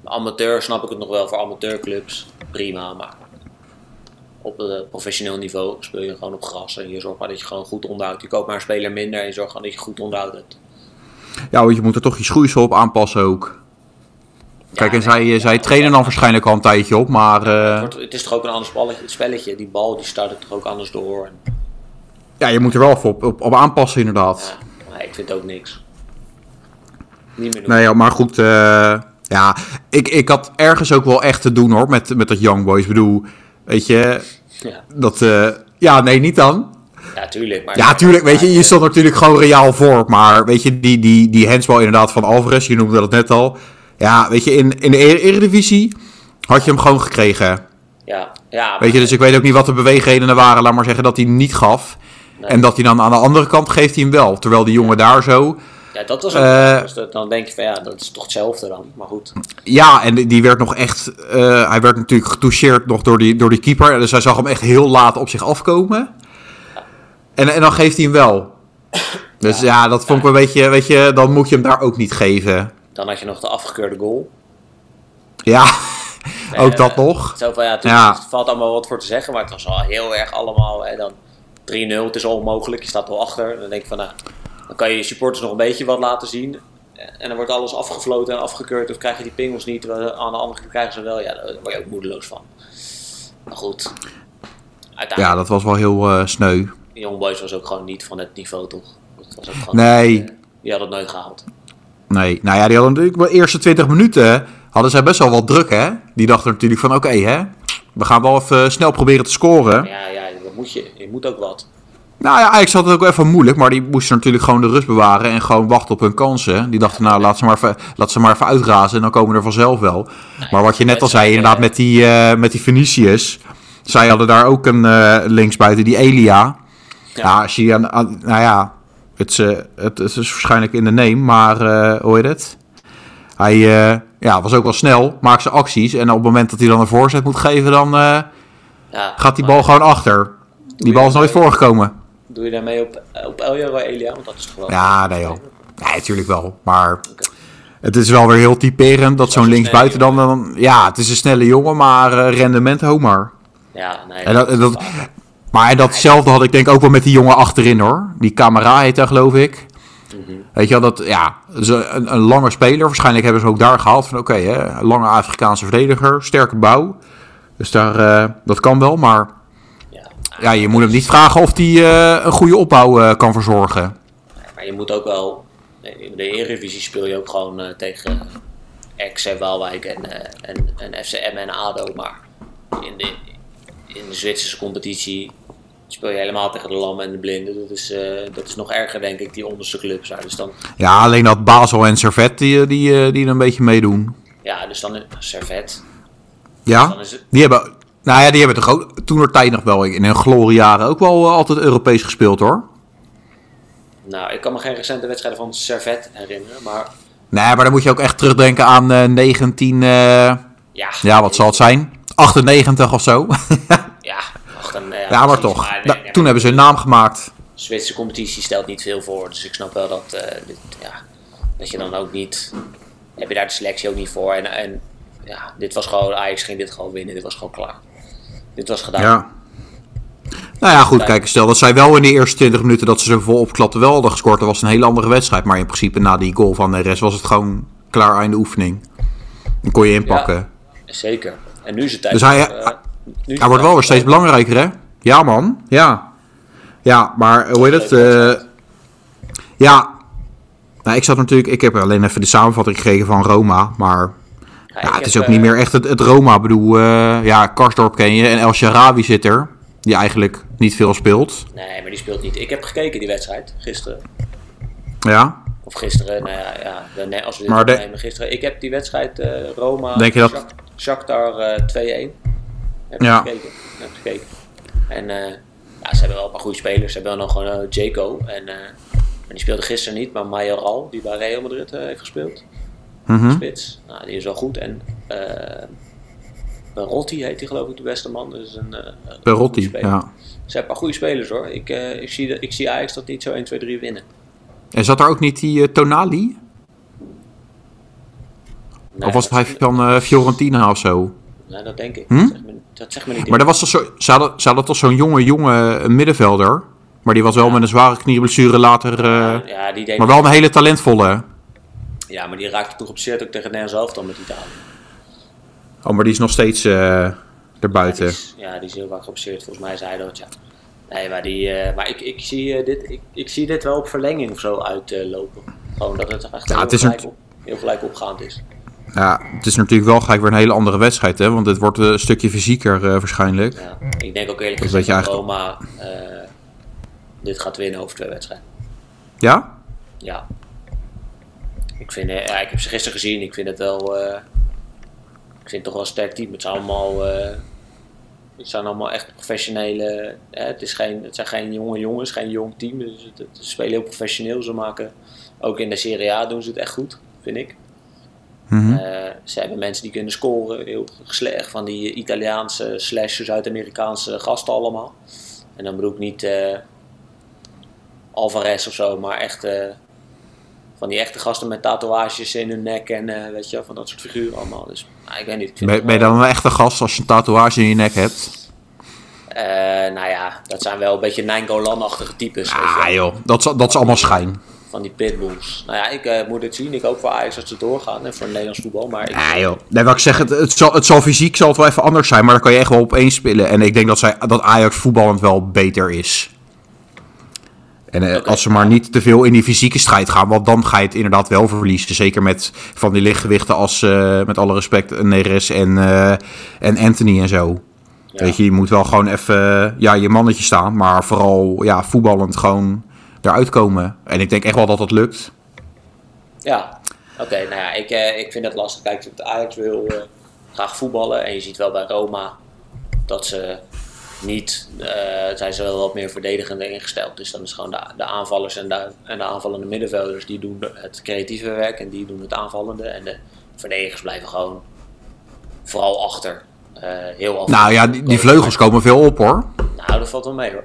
C: amateur snap ik het nog wel, voor amateurclubs prima, maar op eh, professioneel niveau speel je gewoon op gras en je zorgt maar dat je gewoon goed onderhoudt. Je koopt maar een speler minder en je zorgt gewoon dat je goed onderhoud hebt.
B: Ja, want je moet er toch je schoeisel op aanpassen ook. Kijk,
C: Ja,
B: en zij, eh, zij trainen dan waarschijnlijk al een tijdje op, maar... eh,
C: Het wordt- Het is toch ook een ander spelletje. spelletje. Die bal die start het toch ook anders door. En,
B: ja, je moet er wel even op, op, op aanpassen inderdaad.
C: ja, maar ik vind het ook niks. Niet meer doen.
B: Nee, ja, maar goed. eh, ja, ik, ik had ergens ook wel echt te doen hoor, met, met dat Young Boys. Ik bedoel, weet je,
C: Ja.
B: dat... eh, ja, nee, niet dan.
C: ja, tuurlijk. Maar
B: Ja, tuurlijk, weet je, je stond natuurlijk gewoon reaal voor. Maar weet je, die, die, die handsbal inderdaad van Alvarez, je noemde dat net al. Ja, weet je, in, in de Ere- Eredivisie had je hem gewoon gekregen.
C: Ja, ja,
B: Weet je, dus ik weet ook niet wat de beweegredenen waren. Laat maar zeggen dat hij hem niet gaf.
C: Nee.
B: En dat hij dan aan de andere kant geeft hij hem wel. Terwijl die jongen daar zo...
C: ja, dat was ook.
B: eh,
C: dus dat- dan denk je van ja, dat is toch hetzelfde dan. Maar goed.
B: Ja, en die- die werd nog echt... eh, hij werd natuurlijk getoucheerd nog door die, door die keeper. Dus hij zag hem echt heel laat op zich afkomen. En, en dan geeft hij hem wel. Dus ja, dat vond ik een beetje... Weet je, dan moet je hem daar ook niet geven.
C: Dan had je nog de afgekeurde goal.
B: Ja, ook
C: Eh,
B: dat nog.
C: Zo van ja, toen,
B: Ja.
C: het valt allemaal wat voor te zeggen. Maar het was al heel erg allemaal. En dan 3-0, het is al onmogelijk. Je staat al achter. Dan denk ik van nou, dan kan je je supporters nog een beetje wat laten zien. En dan wordt alles afgefloten en afgekeurd. Of krijg je die pingels niet. terwijl Aan de andere kant krijgen ze wel. Ja, daar word je ook moedeloos van. Maar goed.
B: Ja,
C: Uiteindelijk,
B: dat was wel heel eh, sneu.
C: ja, Young Boys was ook gewoon niet van het niveau, toch? Dat was ook gewoon,
B: Nee.
C: eh, die had het nooit gehaald.
B: Nee, nou ja, die hadden natuurlijk wel de eerste 20 minuten hadden zij best wel wat druk, hè? Die dachten natuurlijk van, oké, hè, we gaan wel even snel proberen te scoren.
C: Ja, ja, dat moet je. Je moet ook wat.
B: Nou ja, Ajax had het ook even moeilijk, maar die moesten natuurlijk gewoon de rust bewaren en gewoon wachten op hun kansen. Die dachten, nou, laat ze maar even, laat ze maar even uitrazen en dan komen er vanzelf wel. Maar wat je net al zei, inderdaad, met die, eh, met die Venetius, zij hadden daar ook een eh, linksbuiten, die Elia. Ja, als je aan, aan- nou ja, het, is, eh, het, het is waarschijnlijk in de neem, maar eh, hoe heet het? Hij eh, ja, was ook wel snel, maakt zijn acties. En op het moment dat hij dan een voorzet moet geven, dan eh,
C: Ja,
B: gaat die
C: maar
B: bal gewoon achter. Die bal is nooit voorgekomen.
C: Doe je daarmee op, op Elja Elia? Want dat is toch wel.
B: Ja, nee joh. Nee, natuurlijk wel. Maar het is wel weer heel typerend dat zo'n
C: een
B: linksbuiten dan,
C: snelle
B: dan... Ja, het is een snelle jongen, maar eh, rendement homer.
C: Ja, nee.
B: En dat, en dat, maar en datzelfde had ik denk ook wel met die jongen achterin hoor. Die Camara heet hij geloof ik. Weet je wel, dat, ja, dat is een, een lange speler. Waarschijnlijk hebben ze ook daar gehaald van oké, hè, een lange Afrikaanse verdediger, sterke bouw. Dus daar, eh, dat kan wel, maar
C: ja.
B: ja, je moet hem niet vragen of hij eh, een goede opbouw eh, kan verzorgen.
C: Ah, Maar je moet ook wel. In de Eredivisie speel je ook gewoon eh, tegen Ex en Waalwijk en, eh, en, en FCM en ADO. Maar in de, in de Zwitserse competitie speel je helemaal tegen de lammen en de blinden. Dat is, eh, dat is nog erger, denk ik, die onderste clubs. daar. Dus dan,
B: Ja, alleen dat Basel en Servet die, eh, die, eh, die er een beetje meedoen.
C: ja, dus dan Servet.
B: Ja,
C: Dan is het-
B: die hebben... Nou ja, die hebben toch ook toen tijd nog wel in hun gloriejaren ook wel eh, altijd Europees gespeeld hoor.
C: Nou, ik kan me geen recente wedstrijden van Servet herinneren. Maar
B: Nee, maar dan moet je ook echt terugdenken aan eh, 19... eh,
C: ja.
B: ja, wat zal het zijn? 98 of zo.
C: Ja, ach, dan, eh,
B: ja, maar
C: precies.
B: toch.
C: nee,
B: Da-
C: nee,
B: toen hebben ze hun naam gemaakt.
C: de Zwitserse competitie stelt niet veel voor. Dus ik snap wel dat, eh, dit, ja, dat je dan ook niet. Heb je daar de selectie ook niet voor. En, en ja, dit was gewoon. Ajax ging dit gewoon winnen. Dit was gewoon klaar. Dit was gedaan.
B: Ja. Nou ja, goed, kijk, stel dat zij wel in de eerste 20 minuten dat ze ze vol opklapten wel hadden gescoord, dan was het een hele andere wedstrijd. Maar in principe na die goal van de rest was het gewoon klaar aan de oefening. Dan kon je inpakken.
C: Ja, Zeker. En nu is het tijd.
B: Dus hij-
C: voor, eh,
B: hij-
C: nu is het
B: Hij wordt
C: tijd
B: wel
C: voor-
B: weer steeds belangrijker, hè? Ja, man. Ja. Ja, maar hoe heet het? eh, ja. Nou, ik zat natuurlijk... Ik heb alleen even de samenvatting gekregen van Roma, maar...
C: Ja, ik
B: Ja, het
C: heb,
B: is ook
C: eh,
B: niet meer echt het, het Roma. Ik bedoel, eh, ja, Karsdorp ken je en El Sharawi zit er. Die eigenlijk niet veel speelt.
C: Nee, maar die speelt niet. Ik heb gekeken die wedstrijd gisteren.
B: Ja.
C: Of gisteren, nou ja, ja dan- nee, als we dit
B: Maar de-
C: opnemen gisteren. Ik heb die wedstrijd eh, Roma,
B: Denk je dat-
C: Shak- Shakhtar eh, 2-1. Heb ik
B: Ja.
C: gekeken. Heb ik gekeken. En eh, ja, ze hebben wel een paar goede spelers. Ze hebben wel nog gewoon eh, Jaco. En, eh, maar die speelde gisteren niet, maar Mayoral, die bij Real Madrid eh, heeft gespeeld.
B: Mhm.
C: Spits. Nou, die is wel goed. En eh Rotti heet hij geloof ik, de beste man. Dus een, eh, een goede
B: Perotti,
C: speler.
B: ja.
C: Ze hebben een paar goede spelers hoor. Ik, eh, ik, zie, dat- ik zie Ajax dat niet zo 1, 2, 3 winnen.
B: En zat daar ook niet die eh, Tonali?
C: Nee,
B: of was
C: dat-
B: hij van eh, Fiorentina of zo?
C: Nee, Nou, dat denk ik.
B: Hm?
C: Dat, zegt me, dat zegt me niet.
B: Maar dat was toch zo, ze, hadden, ze hadden toch zo'n jonge, jonge eh, middenvelder. Maar die was wel met een zware knieblessure later... eh,
C: ja, die deed,
B: Maar wel een hele talentvolle.
C: ja, maar die raakte toen geblesseerd ook tegen Nederland zelf dan met Italië.
B: Oh, maar die is nog steeds eh
C: Die
B: erbuiten.
C: is- Ja, die is heel vaak geblesseerd. Volgens mij zei hij dat, ja. Nee, maar, die, eh, maar ik, ik, zie, eh, dit, ik, ik zie dit wel op verlenging of zo uitlopen. Gewoon dat het echt
B: Ja,
C: heel,
B: het is
C: gelijk
B: een-
C: op, heel gelijk opgaand is.
B: Ja, het is natuurlijk wel gelijk weer een hele andere wedstrijd, hè? Want het wordt eh, een stukje fysieker eh, waarschijnlijk.
C: Ja. Ik denk ook eerlijk
B: Dat
C: gezegd
B: weet je
C: dat Roma eh, dit gaat winnen over twee wedstrijden.
B: Ja?
C: Ja. Ik, vind, eh, ja, ik heb ze gisteren gezien. Ik vind het wel. eh, ik vind het toch wel een sterk team. Het zijn allemaal. eh, het zijn allemaal echt professionele. eh, het, is geen, het zijn geen jonge jongens, geen jong team. Dus het, het- ze spelen heel professioneel. Ze maken. Ook in de Serie A doen ze het echt goed, vind ik.
B: Mhm.
C: Eh, ze hebben mensen die kunnen scoren. Heel slecht van die Italiaanse slash Zuid-Amerikaanse gasten allemaal. En dan bedoel ik niet eh, Alvarez of zo, maar echt eh, van die echte gasten met tatoeages in hun nek en eh, weet je wel, van dat soort figuren allemaal. Dus nou, ik weet niet. Ik vind
B: Ben,
C: het
B: ben je
C: wel-
B: dan een echte gast als je een tatoeage in je nek hebt?
C: Eh, nou ja, dat zijn wel een beetje Nijngolan-achtige types. weet je wel.
B: Ah joh, dat is, dat is allemaal schijn.
C: Van die pitbulls. Nou ja, ik eh, moet het zien. Ik hoop voor Ajax dat ze doorgaan en voor het Nederlands voetbal. Maar ik,
B: Ah joh. Nee, wat ik zeg, het, het, zal, het zal fysiek zal het wel even anders zijn, maar dan kan je echt wel op één spelen. En ik denk dat, zij, dat Ajax voetballend wel beter is. En eh,
C: Oké.
B: als ze maar niet te veel in die fysieke strijd gaan, want dan ga je het inderdaad wel verliezen. Zeker met van die lichtgewichten als, eh, met alle respect, Neres en, eh, en Anthony en zo.
C: ja.
B: Weet je, je moet wel gewoon even eh, ja, je mannetje staan, maar vooral ja, voetballend gewoon eruit komen. En ik denk echt wel dat dat lukt.
C: Ja, oké. nou ja, ik, eh, ik vind het lastig. Kijk, het Ajax wil eh, graag voetballen. En je ziet wel bij Roma dat ze niet... eh zijn ze wel wat meer verdedigend ingesteld. Dus dan is gewoon de, de aanvallers en de, en de aanvallende middenvelders... die doen het creatieve werk en die doen het aanvallende. En de verdedigers blijven gewoon vooral achter. Eh, heel af.
B: Nou ja, die,
C: Oh,
B: die vleugels komen veel op hoor.
C: Nou, dat valt wel mee hoor.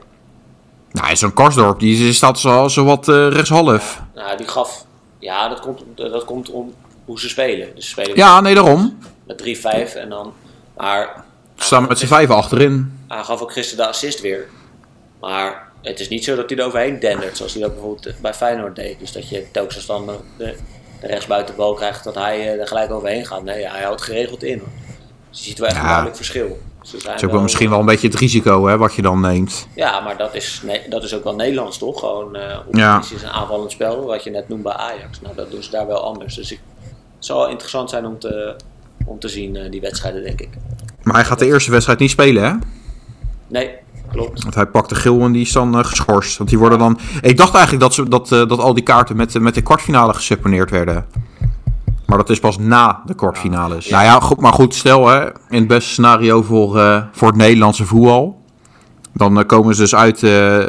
B: Nou, zo'n Karsdorp, die staat zo, zo wat eh, rechtshalf.
C: Nou, die gaf... Ja, dat komt, dat komt om hoe ze spelen. Dus ze spelen
B: Ja, nee, daarom.
C: met 3-5 en dan... Maar
B: Ze staan met z'n vijven achterin.
C: Hij gaf ook gisteren de assist weer. Maar het is niet zo dat hij er overheen dendert, zoals hij dat bijvoorbeeld bij Feyenoord deed. Dus dat je telkens als dan de, de rechtsbuitenbal krijgt, dat hij eh, er gelijk overheen gaat. Nee, hij houdt geregeld in. hoor. Dus je ziet wel echt
B: Ja.
C: een duidelijk verschil. Ze zijn
B: Dat is ook wel misschien wel een beetje het risico hè, wat je dan neemt.
C: Ja, maar dat is, nee, dat is ook wel Nederlands, toch? Gewoon eh
B: Ja.
C: ja. is een aanvallend spel, wat je net noemde bij Ajax. Nou, dat doen ze daar wel anders. Dus ik, het zal wel interessant zijn om te, om te zien, eh, die wedstrijden, denk ik.
B: Maar hij gaat de eerste wedstrijd niet spelen, hè?
C: Nee, klopt.
B: Want hij pakt de geel en die is dan eh, geschorst. Want die worden dan... Ik dacht eigenlijk dat, ze, dat, eh, dat al die kaarten met, de- met de kwartfinale geseponeerd werden. Maar dat is pas na de kwartfinales. Nou ja, goed, maar goed, stel hè, in het beste scenario voor, eh, voor het Nederlandse voetbal. Dan eh, komen ze dus uit eh,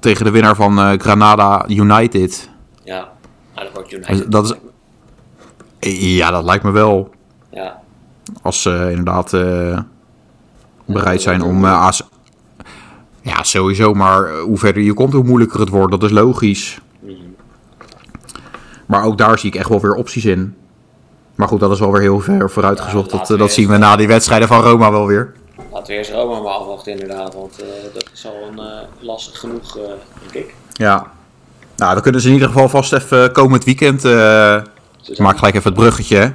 B: tegen de winnaar van eh, Granada United.
C: Ja, maar dat wordt
B: Dus
C: United.
B: Dat is... Ja, dat lijkt me wel.
C: Ja.
B: Als ze inderdaad eh, bereid zijn om eh, AS Ja, sowieso, maar eh, hoe verder je komt, hoe moeilijker het wordt. Dat is logisch. Maar ook daar zie ik echt wel weer opties in. Maar goed, dat is wel weer heel ver vooruitgezocht. dat,
C: Ja,
B: eh,
C: laten we
B: dat zien we
C: eerst-
B: na die wedstrijden van Roma wel weer.
C: Laten we eerst Roma maar afwachten inderdaad, want eh, dat is al een, eh, lastig genoeg, eh, denk ik.
B: Ja. Nou, dan kunnen ze in ieder geval vast even komend weekend... eh, ik maak gelijk even het bruggetje, hè.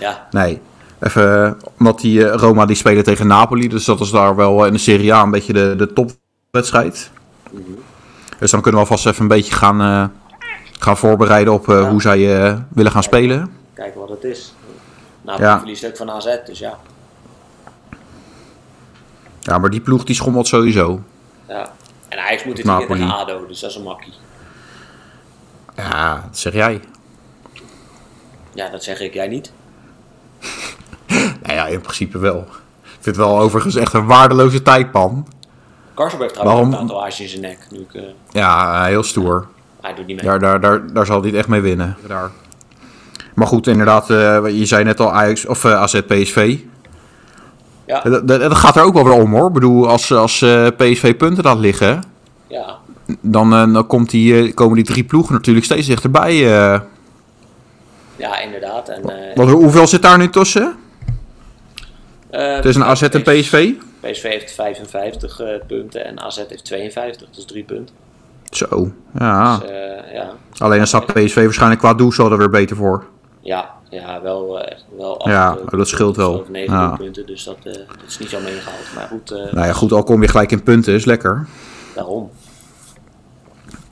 C: Ja,
B: Nee. Even, eh, omdat die eh, Roma die spelen tegen Napoli. Dus dat is daar wel eh, in de Serie A een beetje de, de topwedstrijd. Dus dan kunnen we alvast even een beetje gaan, eh, gaan voorbereiden op eh,
C: Ja.
B: hoe zij eh, willen gaan spelen.
C: kijken wat het is. Nou,
B: Ja.
C: verliest ook van AZ, dus ja.
B: Ja, maar die ploeg die schommelt sowieso.
C: ja. En Ajax moet dit weekend
B: Napoli.
C: tegen ADO, dus dat is een makkie.
B: Ja, dat zeg jij.
C: Ja, dat zeg ik, jij niet.
B: Nou ja, in principe wel. Ik vind het wel overigens echt een waardeloze tijdpan.
C: Karselberg heeft trouwens ook
B: Waarom-
C: een tatoeage in zijn nek. Nu ik, eh,
B: Ja, eh, heel stoer.
C: hij doet niet mee.
B: Daar, daar, daar, daar zal hij het echt mee winnen. Daar. Maar goed, inderdaad, eh, je zei net al Ajax, of eh, AZ PSV.
C: Ja,
B: Dat, dat- dat gaat er ook wel weer om hoor. Ik bedoel, als, als eh, PSV punten laat liggen,
C: ja.
B: dan, eh, dan komt die, eh, komen die drie ploegen natuurlijk steeds dichterbij. eh.
C: ja inderdaad. En, eh,
B: Want hoe- hoeveel zit daar nu tussen?
C: eh,
B: Het is een AZ en PSV?
C: PSV heeft 55 eh, punten en AZ heeft 52, dus 3 punten.
B: Zo, ja.
C: Dus, eh, ja.
B: Alleen dan staat PSV waarschijnlijk qua doelsaldo er weer beter voor.
C: Ja, ja, wel, eh, echt wel
B: Ja,
C: acht, eh,
B: dat scheelt wel.
C: of negen
B: Ja.
C: punten, dus dat, eh, dat is niet zo meegehaald. Maar goed, eh,
B: Nou ja, goed, al kom je gelijk in punten, is lekker.
C: daarom.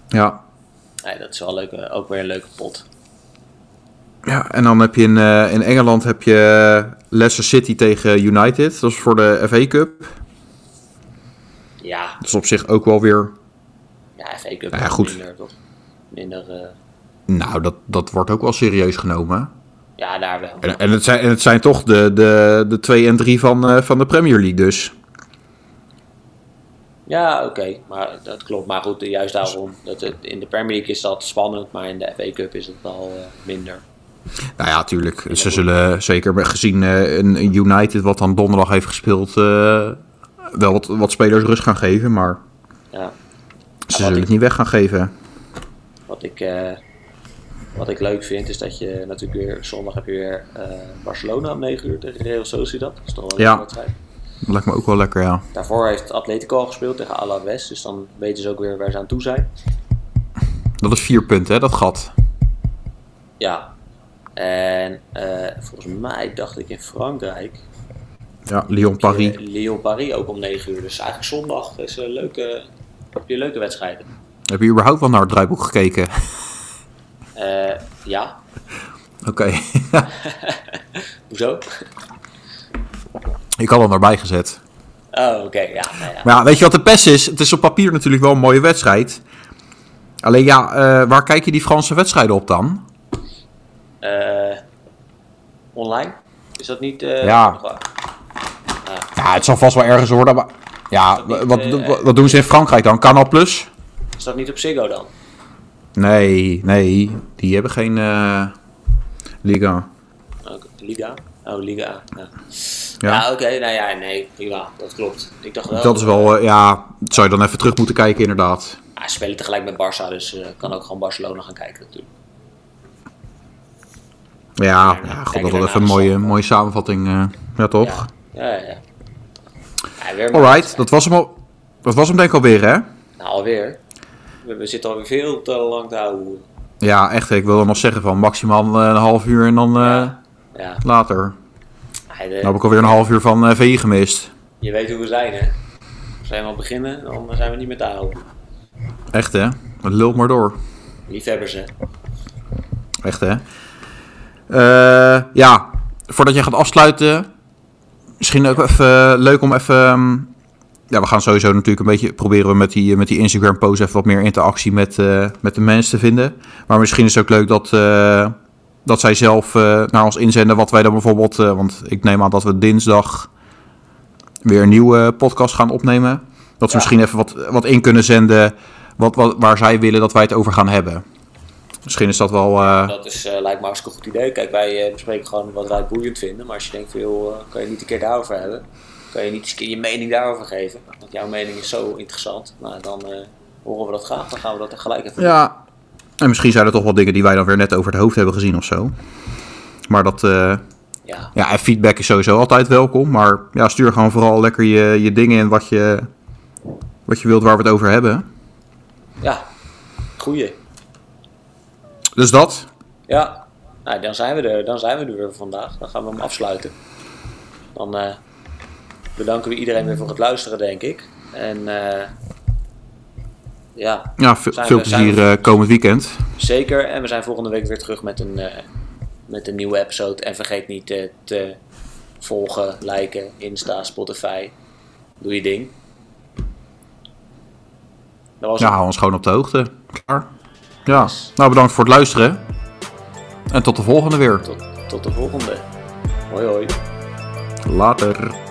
B: Ja.
C: Nee, dat is wel leuk, eh, ook weer een leuke pot.
B: ja en dan heb je in, eh, in Engeland heb je eh, Leicester City tegen United. Dat is voor de FA Cup.
C: Ja,
B: Dat is op zich ook wel weer...
C: ja FA Cup
B: Nou ja,
C: is
B: goed.
C: minder, toch? Minder, eh,
B: Nou, dat, dat wordt ook wel serieus genomen.
C: ja, daar wel.
B: En, en, het, zijn, en het zijn toch de, de, de twee en drie van, eh, van de Premier League dus.
C: Ja, oké, maar dat klopt. Maar goed, eh, juist daarom. Dat het, in de Premier League is dat spannend, maar in de FA Cup is het wel eh, minder.
B: Nou ja, tuurlijk. Ze zullen zeker gezien eh, een een United wat dan donderdag heeft gespeeld... eh, wel wat, wat spelers rust gaan geven, maar
C: Ja.
B: ze zullen het niet weg gaan geven.
C: Wat ik, eh, wat ik leuk vind is dat je natuurlijk weer zondag heb je weer eh, Barcelona om 9 uur tegen Real Sociedad. Dat is toch wel een
B: Ja.
C: leuke wedstrijd.
B: Dat lijkt me ook wel lekker, ja.
C: Daarvoor heeft Atletico al gespeeld tegen Alaves, dus dan weten ze ook weer waar ze aan toe zijn.
B: Dat is vier punten, hè, dat gat.
C: Ja. En eh, volgens mij dacht ik in Frankrijk. eh,
B: Ja, Lyon-Paris.
C: Lyon-Paris ook om 9 uur. Dus eigenlijk zondag is een leuke, heb je leuke wedstrijden.
B: Heb je überhaupt wel naar het draaiboek gekeken?
C: Eh, ja,
B: Oké.
C: hoezo?
B: Ik had hem erbij gezet.
C: Oh, oké, ja, nou ja.
B: Maar ja, weet je wat de pest is? Het is op papier natuurlijk wel een mooie wedstrijd. Alleen ja, eh, waar kijk je die Franse wedstrijden op dan?
C: Eh, online? Is dat niet... eh,
B: Ja.
C: nog wel-
B: Ja, het zal vast wel ergens worden, maar... Ja,
C: niet,
B: wat,
C: eh,
B: wat, wat doen ze in Frankrijk dan? Canal Plus?
C: Is dat niet op Ziggo dan?
B: Nee, nee. Die hebben geen eh, Liga.
C: Ook Liga? Oh, Liga A. Ja,
B: Ja.
C: Ja, oké. nou ja, nee, prima. Dat klopt. Ik dacht wel...
B: Dat is wel... eh, ja, dat zou je dan even terug moeten kijken inderdaad.
C: Ah, ze spelen tegelijk met Barça, dus eh, kan ook gewoon Barcelona gaan kijken natuurlijk.
B: Ja,
C: Ja,
B: ja
C: kijk
B: god, dat
C: ernaar
B: wel even een
C: de
B: mooie,
C: stand.
B: mooie samenvatting. eh, ja, toch?
C: Ja, ja, ja. ja weer maar-
B: Alright, dat was hem al... Dat was hem denk ik alweer, hè?
C: Nou, alweer. We, we zitten alweer veel te lang te houden.
B: Ja, echt. Ik wilde nog zeggen van maximaal eh, een half uur en dan eh,
C: Ja. Ja.
B: later.
C: Hij, eh,
B: Dan heb ik alweer een half uur van eh VI gemist.
C: Je weet hoe we zijn, hè? Als we eenmaal beginnen, dan zijn we niet meer te houden.
B: Echt, hè? Het lult maar door.
C: Liefhebbers, hè?
B: Echt, hè? Eh, ja, voordat je gaat afsluiten, misschien ook even eh, leuk om even... ehm, ja, we gaan sowieso natuurlijk een beetje proberen we met die, met die Instagram post even wat meer interactie met, eh, met de mensen te vinden. Maar misschien is het ook leuk dat, eh, dat zij zelf eh, naar ons inzenden wat wij dan bijvoorbeeld... eh, want ik neem aan dat we dinsdag weer een nieuwe podcast gaan opnemen. Dat ze
C: Ja.
B: misschien even wat, wat in kunnen zenden wat, wat, waar zij willen dat wij het over gaan hebben. Misschien is dat wel... eh,
C: Dat is, eh, lijkt me hartstikke goed idee. Kijk, wij eh, bespreken gewoon wat wij boeiend vinden. Maar als je denkt, van, joh, eh, kan je niet een keer daarover hebben? Kan je niet eens een keer je mening daarover geven? Want jouw mening is zo interessant. Nou, dan eh, horen we dat graag. Dan gaan we dat er gelijk even
B: ja. En misschien zijn er toch wel dingen die wij dan weer net over het hoofd hebben gezien of zo. Maar dat... eh,
C: doen. Ja.
B: Ja, en feedback is sowieso altijd welkom. Maar ja, stuur gewoon vooral lekker je, je dingen in wat je, wat je wilt waar we het over hebben.
C: ja, goeie.
B: Dus dat.
C: Ja, nou, dan, zijn we er, dan zijn we er weer vandaag. Dan gaan we hem afsluiten. Dan eh, bedanken we iedereen weer voor het luisteren, denk ik. En eh, ja,
B: Ja, ve-
C: Zijn we-
B: veel plezier
C: zijn we-
B: eh, komend weekend.
C: zeker. En we zijn volgende week weer terug met een, eh, met een nieuwe episode. En vergeet niet eh, te volgen, liken, Insta, Spotify. Doe je ding. Dat was
B: Ja,
C: het.
B: hou ons gewoon op de hoogte. Klaar. Ja, nou bedankt voor het luisteren. En tot de volgende weer.
C: Tot, tot de volgende. Hoi hoi.
B: Later.